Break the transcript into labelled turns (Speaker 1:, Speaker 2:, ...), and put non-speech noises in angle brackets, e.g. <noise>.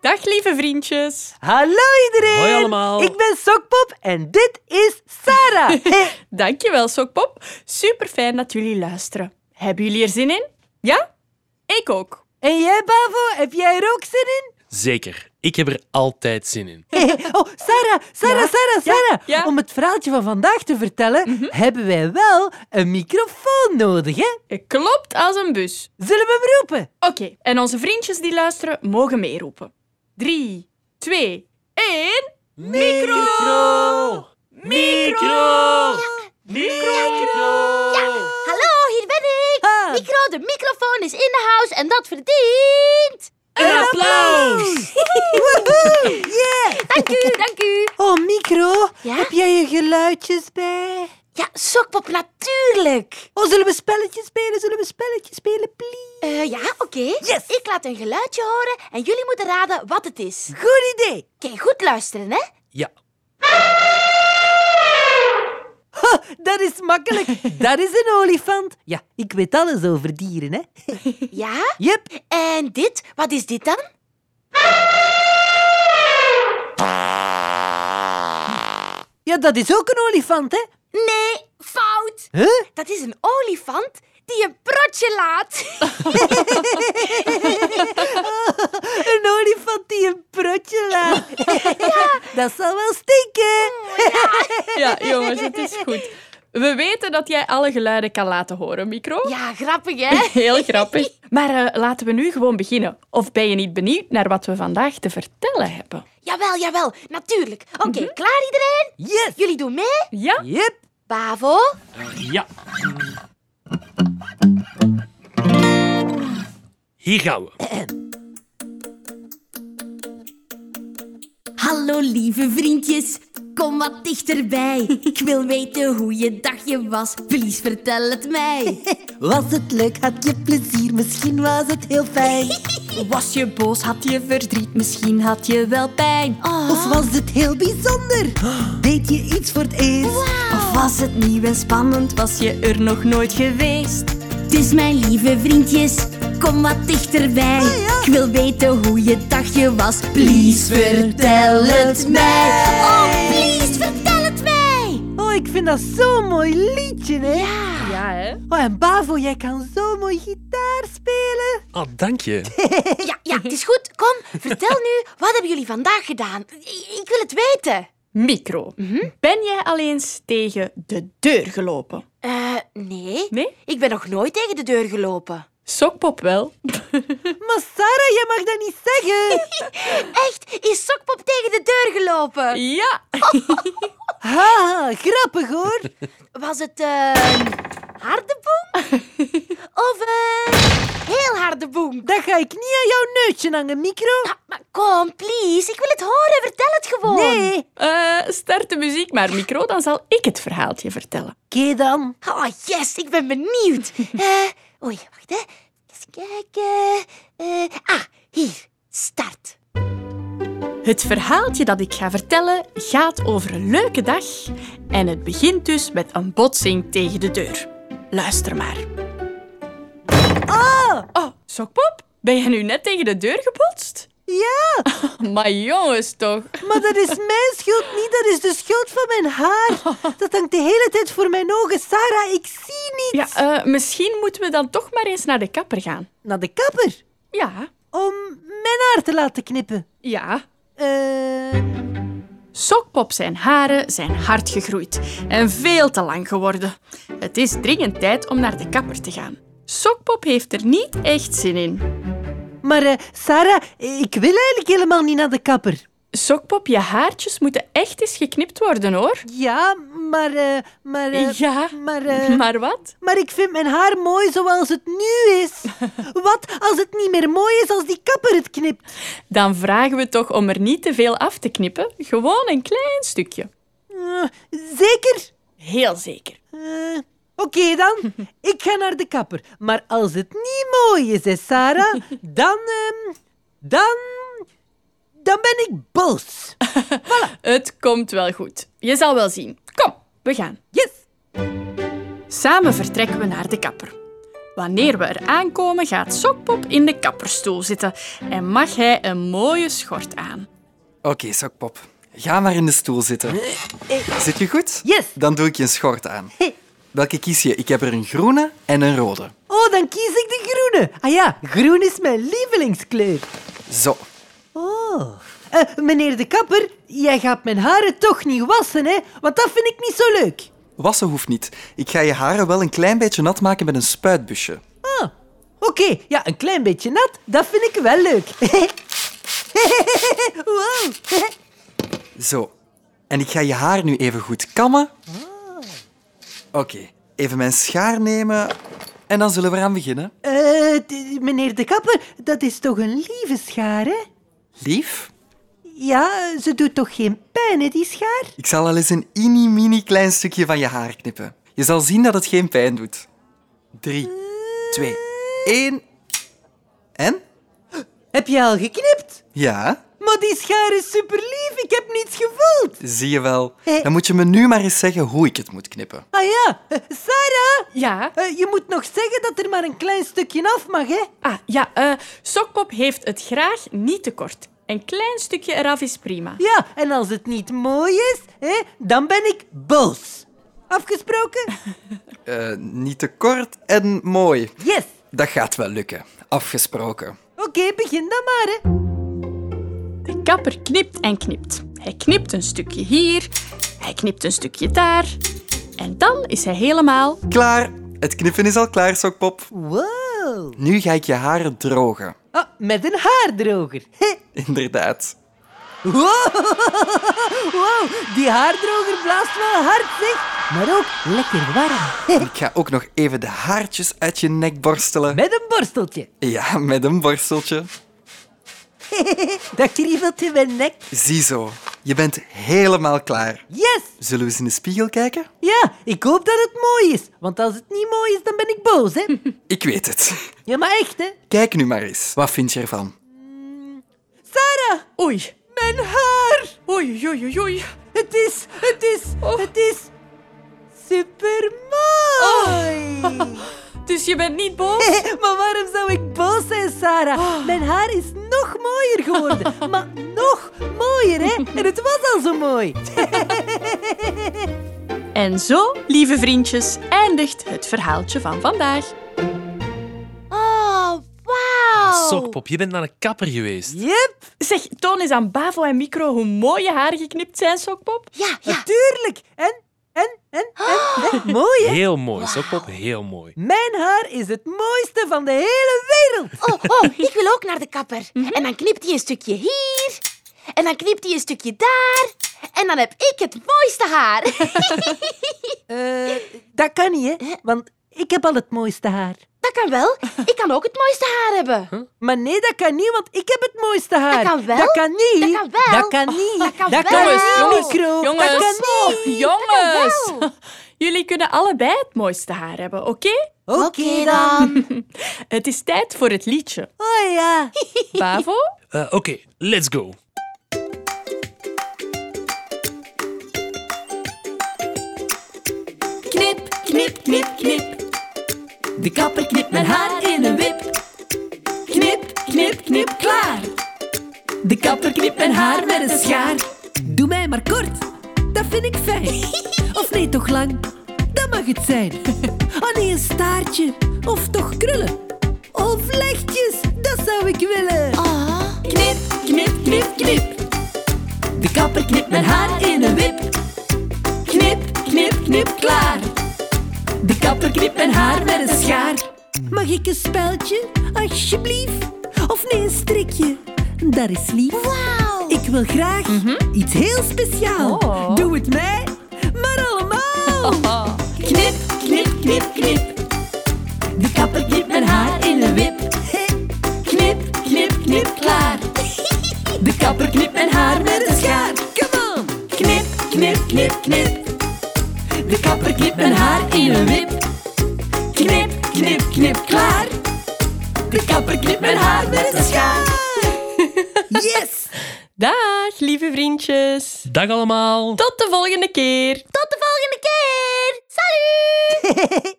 Speaker 1: Dag lieve vriendjes.
Speaker 2: Hallo iedereen!
Speaker 3: Hoi allemaal.
Speaker 2: Ik ben Sokpop en dit is
Speaker 1: <laughs>
Speaker 2: Sarah. Hey.
Speaker 1: Dankjewel, Sokpop. Super fijn dat jullie luisteren. Hebben jullie er zin in? Ja? Ik ook.
Speaker 2: En jij, Bavo, heb jij er ook zin in?
Speaker 3: Zeker, ik heb er altijd zin in.
Speaker 2: Hey. Oh, Sarah, Sarah,
Speaker 1: Ja?
Speaker 2: Sarah,
Speaker 1: Ja,
Speaker 2: Sarah.
Speaker 1: ja. Mhm.
Speaker 2: Om het verhaaltje van vandaag te vertellen, hebben wij wel een microfoon nodig, hè?
Speaker 1: Klopt als een bus.
Speaker 2: Zullen we hem roepen?
Speaker 1: Oké, en onze vriendjes die luisteren mogen meeroepen. Drie, twee, één. Micro!
Speaker 3: Micro! Micro!
Speaker 4: Hallo, hier ben ik.
Speaker 2: Ah,
Speaker 4: Micro, de microfoon is in de house en dat verdient.
Speaker 1: Een applaus!
Speaker 2: <laughs> woehoe, yeah.
Speaker 4: Dank u, <laughs> dank u.
Speaker 2: Oh, micro,
Speaker 4: Ja?
Speaker 2: heb jij je geluidjes bij?
Speaker 4: Ja, sokpop, natuurlijk.
Speaker 2: Oh, zullen we spelletjes spelen? Zullen we spelletjes spelen, please?
Speaker 4: Eh, ja, oké.
Speaker 2: Yes.
Speaker 4: Ik laat een geluidje horen en jullie moeten raden wat het is.
Speaker 2: Goed idee.
Speaker 4: Oké, goed luisteren, <laughs> hè?
Speaker 3: Ja,
Speaker 2: Ha, dat is <laughs> makkelijk. dat is een olifant. Ja, ik weet alles over dieren, hè?
Speaker 4: Ja?
Speaker 2: Yep.
Speaker 4: En dit, wat is dit dan?
Speaker 2: Ja, dat is ook een olifant, hè?
Speaker 4: Nee, fout.
Speaker 2: Huh?
Speaker 4: Dat is een olifant die een protje laat. <laughs>
Speaker 2: Een olifant die een prutje <laughs> laat. Dat zal wel stinken.
Speaker 1: Ja, jongens, het is goed. We weten dat jij alle geluiden kan laten horen, Micro.
Speaker 4: Ja, grappig, hè?
Speaker 1: Heel grappig. Maar eh, laten we nu gewoon beginnen. Of ben je niet benieuwd naar wat we vandaag te vertellen hebben?
Speaker 4: <laughs> Jawel, jawel, natuurlijk. Oké, klaar iedereen?
Speaker 2: Yes.
Speaker 4: Mhm. Jullie doen mee?
Speaker 1: Ja?
Speaker 2: Yep.
Speaker 4: Bavo?
Speaker 3: ja. Hier gaan we.
Speaker 5: Hallo lieve vriendjes, kom wat dichterbij. Ik wil weten hoe je dagje was, please vertel het mij.
Speaker 2: Was het leuk? Had je plezier? Misschien was het heel <laughs> fijn.
Speaker 5: Was je boos, had je verdriet, misschien had je wel pijn.
Speaker 2: Of
Speaker 5: Oh.
Speaker 2: was het heel <gasps> bijzonder? Deed je iets voor het eerst?
Speaker 5: Of was het nieuw en spannend, was je er nog nooit geweest. Dus mijn lieve vriendjes, kom wat dichterbij.
Speaker 4: Ah,
Speaker 5: Ik wil weten hoe je dagje was, please vertel het mij. Oh, please vertel het mij.
Speaker 2: Oh, ik vind dat zo'n mooi liedje, hè?
Speaker 1: Ja, hè?
Speaker 2: Oh, en Bavo, jij kan zo mooi gitaar spelen.
Speaker 3: Ah, dank je.
Speaker 4: Ja, ja, het is goed. Kom, vertel nu, wat hebben jullie vandaag gedaan? I- Ik wil het weten.
Speaker 1: Micro, ben jij al eens tegen de deur gelopen?
Speaker 4: Eh, nee.
Speaker 1: Nee?
Speaker 4: Ik ben nog nooit tegen de deur gelopen.
Speaker 1: Sokpop wel.
Speaker 2: Maar Sarah, jij mag dat niet
Speaker 1: <laughs>
Speaker 2: zeggen.
Speaker 4: Echt, is Sokpop tegen de deur gelopen?
Speaker 1: Ja.
Speaker 2: Ha, grappig hoor.
Speaker 4: Was het eh, een harde boem? Of een heel harde boem?
Speaker 2: Dat ga ik niet aan jouw neutje hangen, micro.
Speaker 4: Ah, maar kom, please. Ik wil het horen. Vertel het gewoon.
Speaker 2: Nee. Oké
Speaker 1: Eh, start de muziek maar, Micro, dan zal ik het verhaaltje vertellen.
Speaker 2: dan.
Speaker 4: Oh, yes. Ik ben benieuwd. Eh, oei, wacht, hè. Eens kijken. Eh, ah, hier. Start.
Speaker 1: Het verhaaltje dat ik ga vertellen gaat over een leuke dag en het begint dus met een botsing tegen de deur. Luister maar. Oh, oh Sokpop, ben jij nu net tegen de deur gebotst?
Speaker 2: Ja,
Speaker 1: <laughs> Maar jongens toch.
Speaker 2: maar dat is mijn schuld niet. Dat is de schuld van mijn
Speaker 1: <laughs>
Speaker 2: haar. Dat hangt de hele tijd voor mijn ogen. Sarah, ik zie niet.
Speaker 1: Ja, eh, misschien moeten we dan toch maar eens naar de kapper gaan.
Speaker 2: Naar de kapper.
Speaker 1: Ja,
Speaker 2: Om mijn haar te laten knippen.
Speaker 1: ja.
Speaker 2: Eh,
Speaker 1: Sokpop zijn haren zijn hard gegroeid en veel te lang geworden. Het is dringend tijd om naar de kapper te gaan. Sokpop heeft er niet echt zin in.
Speaker 2: maar eh, Sarah, ik wil eigenlijk helemaal niet naar de kapper.
Speaker 1: Sokpop, je haartjes moeten echt eens geknipt worden, hoor.
Speaker 2: Ja, maar... eh, maar eh,
Speaker 1: ja,
Speaker 2: Maar, eh,
Speaker 1: maar wat?
Speaker 2: maar ik vind mijn haar mooi zoals het nu is. Wat als het niet meer mooi is als die kapper het knipt?
Speaker 1: Dan vragen we toch om er niet te veel af te knippen. Gewoon een klein stukje.
Speaker 2: Eh, zeker?
Speaker 1: Heel zeker.
Speaker 2: Eh, Oké dan, ik ga naar de kapper. Maar als het niet mooi is, hè, Sarah, dan, ehm, dan, dan ben ik boos.
Speaker 1: Het komt wel goed. Je zal wel zien. Kom, we gaan.
Speaker 2: Yes.
Speaker 1: Samen vertrekken we naar de kapper. Wanneer we er aankomen, gaat Sokpop in de kapperstoel zitten en mag hij een mooie schort aan.
Speaker 6: Oké, Sokpop. Ga maar in de stoel zitten. Zit je goed?
Speaker 2: Yes.
Speaker 6: Dan doe ik je een schort aan. Welke kies je? Ik heb er een groene en een rode.
Speaker 2: Oh, dan kies ik de groene. Ah ja, groen is mijn lievelingskleur.
Speaker 6: Zo.
Speaker 2: Oh. Eh, meneer de kapper, jij gaat mijn haren toch niet wassen, hè? Want dat vind ik niet zo leuk.
Speaker 6: Wassen hoeft niet. Ik ga je haren wel een klein beetje nat maken met een spuitbusje.
Speaker 2: Ah, oké. Ja, een klein beetje nat, dat vind ik wel leuk. <laughs> wow.
Speaker 6: Zo. En ik ga je haar nu even goed kammen. Oké, even mijn schaar nemen en dan zullen we eraan beginnen.
Speaker 2: Eh, d- meneer de kapper, dat is toch een lieve schaar, hè?
Speaker 6: Lief,
Speaker 2: Ja, ze doet toch geen pijn, hè, die schaar?
Speaker 6: ik zal al eens een mini-mini klein stukje van je haar knippen. Je zal zien dat het geen pijn doet. Drie, twee, één. En?
Speaker 2: Heb je al geknipt?
Speaker 6: Ja,
Speaker 2: Maar die schaar is super lief, ik heb niets gevoeld.
Speaker 6: zie je wel. Dan moet je me nu maar eens zeggen hoe ik het moet knippen.
Speaker 2: Ah ja, eh, Sarah,
Speaker 1: Ja,
Speaker 2: eh, je moet nog zeggen dat er maar een klein stukje af mag, hè?
Speaker 1: ah, ja eh, Sokpop heeft het graag niet te kort. Een klein stukje eraf is prima.
Speaker 2: Ja, en als het niet mooi is, hè, dan ben ik boos. Afgesproken?
Speaker 6: Eh, niet te kort en mooi.
Speaker 2: Yes.
Speaker 6: Dat gaat wel lukken. Afgesproken.
Speaker 2: Oké, begin dan maar, hè.
Speaker 1: De kapper knipt en knipt. Hij knipt een stukje hier, hij knipt een stukje daar. En dan is hij helemaal...
Speaker 6: Klaar. Het knippen is al klaar, Sokpop.
Speaker 2: Wow.
Speaker 6: Nu ga ik je haren drogen. <laughs>
Speaker 2: Ah, met een haardroger. <laughs> Hé,
Speaker 6: Inderdaad.
Speaker 2: Wow. wow, die haardroger blaast wel hard, zeg. Maar ook lekker warm.
Speaker 6: Ik ga ook nog even de haartjes uit je nek borstelen.
Speaker 2: Met een borsteltje.
Speaker 6: Ja, met een borsteltje.
Speaker 2: Dat kriebelt in mijn nek.
Speaker 6: Ziezo, je bent helemaal klaar.
Speaker 2: Yes.
Speaker 6: Zullen we eens in de spiegel kijken?
Speaker 2: Ja, ik hoop dat het mooi is. Want als het niet mooi is, dan ben ik boos, hè.
Speaker 6: Ik weet het.
Speaker 2: Ja, maar echt, hè.
Speaker 6: Kijk nu maar eens. Wat vind je ervan?
Speaker 2: Sarah,
Speaker 1: Oei.
Speaker 2: mijn haar.
Speaker 1: Oei, oei, oei, oei.
Speaker 2: Het is, het is,
Speaker 1: Oh.
Speaker 2: het is supermooi.
Speaker 1: Dus je bent niet boos?
Speaker 2: <laughs> maar waarom zou ik boos zijn, Sarah?
Speaker 4: Ah.
Speaker 2: Mijn haar is nog mooier
Speaker 4: <laughs>
Speaker 2: geworden. maar nog mooier, hè? En het was al zo mooi.
Speaker 1: <laughs> En zo, lieve vriendjes, eindigt het verhaaltje van vandaag.
Speaker 4: Oh, wauw.
Speaker 3: Sokpop, je bent naar een kapper geweest.
Speaker 2: Yep,
Speaker 1: Zeg, toon eens aan Bavo en Micro hoe mooi je haar geknipt zijn, Sokpop.
Speaker 4: Ja, ja. Ah.
Speaker 2: natuurlijk. En, en, en, en, en. Mooi, hè?
Speaker 3: Heel mooi, Sokpop, heel mooi.
Speaker 2: Mijn haar is het mooiste van de hele wereld.
Speaker 4: Oh, oh, ik wil ook naar de kapper. En dan knipt hij een stukje hier. En dan knipt hij een stukje daar. En dan heb ik het mooiste haar.
Speaker 2: Eh, dat kan niet,
Speaker 4: Eh.
Speaker 2: hè? Want ik heb al het mooiste haar.
Speaker 4: Dat kan wel. Ik kan ook het mooiste haar hebben.
Speaker 2: Maar nee, dat kan niet, want ik heb het mooiste haar.
Speaker 4: Dat kan wel.
Speaker 2: Dat kan niet.
Speaker 4: Dat kan wel. Oh,
Speaker 2: Dat kan niet.
Speaker 4: dat kan wel.
Speaker 2: niet,
Speaker 4: Jongens,
Speaker 5: Oh,
Speaker 2: micro.
Speaker 1: jongens,
Speaker 2: Dat kan niet.
Speaker 1: jongens. <laughs>
Speaker 4: Dat kan wel.
Speaker 1: Jullie kunnen allebei het mooiste haar hebben, oké?
Speaker 2: Oké
Speaker 1: Het is tijd voor het liedje.
Speaker 2: Oh ja.
Speaker 5: <laughs>
Speaker 1: Bavo?
Speaker 3: Eh, Oké, let's go.
Speaker 5: Knip, knip, knip, knip. De kapper knipt mijn haar in een wip. Knip, knip, knip, klaar. De kapper knipt mijn haar met een schaar.
Speaker 2: Doe mij maar kort. Dat vind ik fijn. Of nee, toch lang. Dat mag het zijn. <laughs> Oh nee, een staartje. Of toch krullen. Of vlechtjes. Dat zou ik willen.
Speaker 5: Knip, knip, knip, knip. De kapper knipt mijn haar in een wip. Knip, knip, knip, klaar. De kapper knipt mijn haar met een schaar.
Speaker 2: Mag ik een speldje, alsjeblieft? Of nee, een strikje. Dat is lief. Ik wil graag
Speaker 5: Mhm.
Speaker 2: iets heel speciaals.
Speaker 1: Oh.
Speaker 2: Doe het mij, maar allemaal.
Speaker 5: Oh. Knip, knip, knip, knip. De kapper knipt mijn haar in een wip. Knip, knip, knip, klaar. De kapper knipt mijn haar met een schaar. Come on! Knip, knip, knip, knip. De kapper knipt mijn haar in een wip. Knip, knip, knip, klaar. De kapper knipt mijn haar met een schaar.
Speaker 2: <laughs> Yes!
Speaker 1: Dag, lieve vriendjes.
Speaker 3: Dag allemaal.
Speaker 1: Tot de volgende keer.
Speaker 4: Tot de volgende keer. Salut.